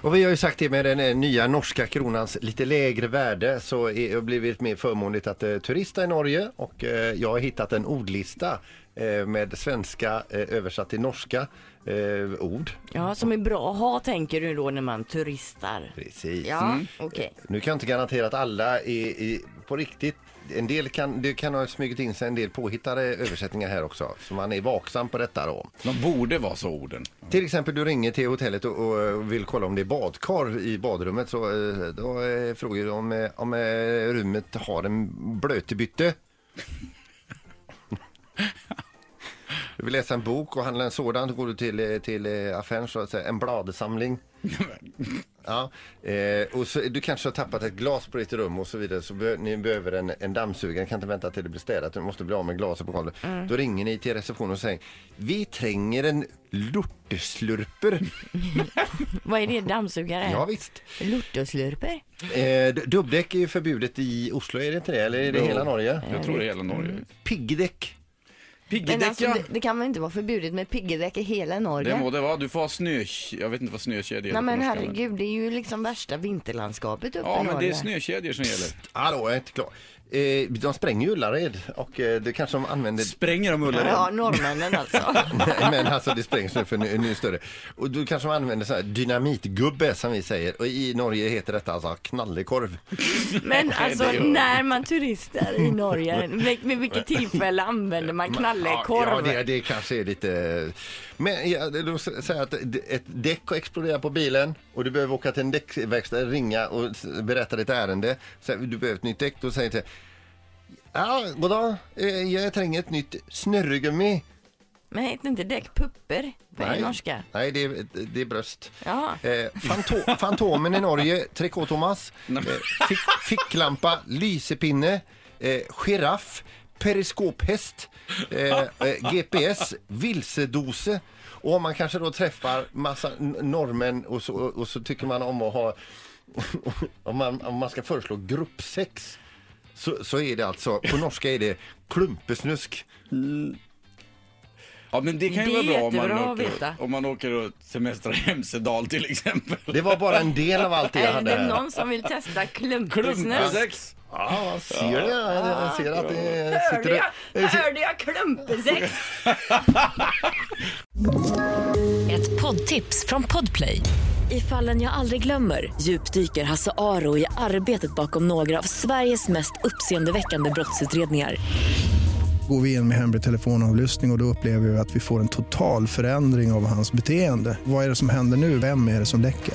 Och vi har ju sagt det med den eh, nya norska kronans lite lägre värde så är- har blivit mer förmånligt att eh, turista i Norge och eh, jag har hittat en ordlista eh, med svenska eh, översatt till norska eh, ord. Ja, som är bra att ha tänker du då när man turistar. Precis. Mm. Eh, Ja, okej. Nu kan jag inte garantera att alla är, i- på riktigt en del kan, det kan ha smugit in sig en del påhittade översättningar här också, så man är vaksam på detta då. De borde vara så orden. Till exempel du ringer till hotellet och, och vill kolla om det är badkar i badrummet så eh, då eh, frågar du om, eh, om eh, rummet har en blötbytte. Du vill läsa en bok och handla en sådan, då går du till, eh, till eh, affären så att säga, en bladsamling. Ja, eh, och så, du kanske har tappat ett glas på ditt rum och så vidare så be, ni behöver en, en dammsugare, kan inte vänta till det blir städat, du måste bli av med glaset på golvet. Då ringer ni till receptionen och säger vi tränger en lorteslurper. Vad är det? Dammsugare? ja, visst. Lortoslurper? Eh, d- dubbdäck är ju förbjudet i Oslo, är det inte det? Eller är det Jo. hela Norge? Jag tror det är hela Norge. Piggdäck. Mm. Men Piggdäck alltså, ja. det, det kan väl inte vara förbjudet med piggdäck i hela Norge? Det må det vara. Du får ha snö... Jag vet inte vad snökedjor Nej heter på men norska, herregud, det är ju liksom värsta vinterlandskapet uppe Ja, i men det Norge. är snökedjor som gäller. Hallå, jag är inte klar. Eh, de spränger ju Ullared och eh, det kanske de använder Spränger de Ullared? Ja, norrmännen alltså. Nej, men alltså det sprängs nu för nu, nu är det större. Och då kanske man använder så här dynamitgubbe som vi säger. Och i Norge heter detta alltså knallekorv. Men alltså det gör- när man turistar i Norge, vil- vid vilket tillfälle använder man knallekorv? Ja, det, det kanske är lite... Men jag vill då säga att d- ett däck har exploderat på bilen och du behöver åka till en däckverkstad, ringa och s- berätta ditt ärende. Så här, du behöver ett nytt däck, då säger du Ja, goddag, eh, jag tränger ett nytt snurregummi. Men heter inte däck pupper på Nej. norska? Nej, det, är- det är bröst. Ja. Eh, fanto- fantomen i Norge, Trikå-Thomas, eh, fick, ficklampa, lysepinne, eh, giraff, periskophäst, eh, eh, GPS, vilsedose. Och om man kanske då träffar massa n- norrmän och så, och så tycker man om att ha, om man, om man ska föreslå gruppsex. Så, så är det alltså, på norska är det klumpesnusk. Ja, men det kan ju Det är vara bra om man, jättebra att åker, veta. om man åker och semestrar i Hemsedal till exempel. Det var bara en del av allt det jag Är hade det här. någon som vill testa klumpesnus? Klumpsex! Ja, man ser det. Jag ser att det Hörde sitter... Eh, jag, hörde jag klumpesex? Ett poddtips från Podplay. I fallen jag aldrig glömmer djupdyker Hasse Aro i arbetet bakom några av Sveriges mest uppseendeväckande brottsutredningar. Går vi in med hemlig telefonavlyssning och, och då upplever vi att vi får en total förändring av hans beteende. Vad är det som händer nu? Vem är det som läcker?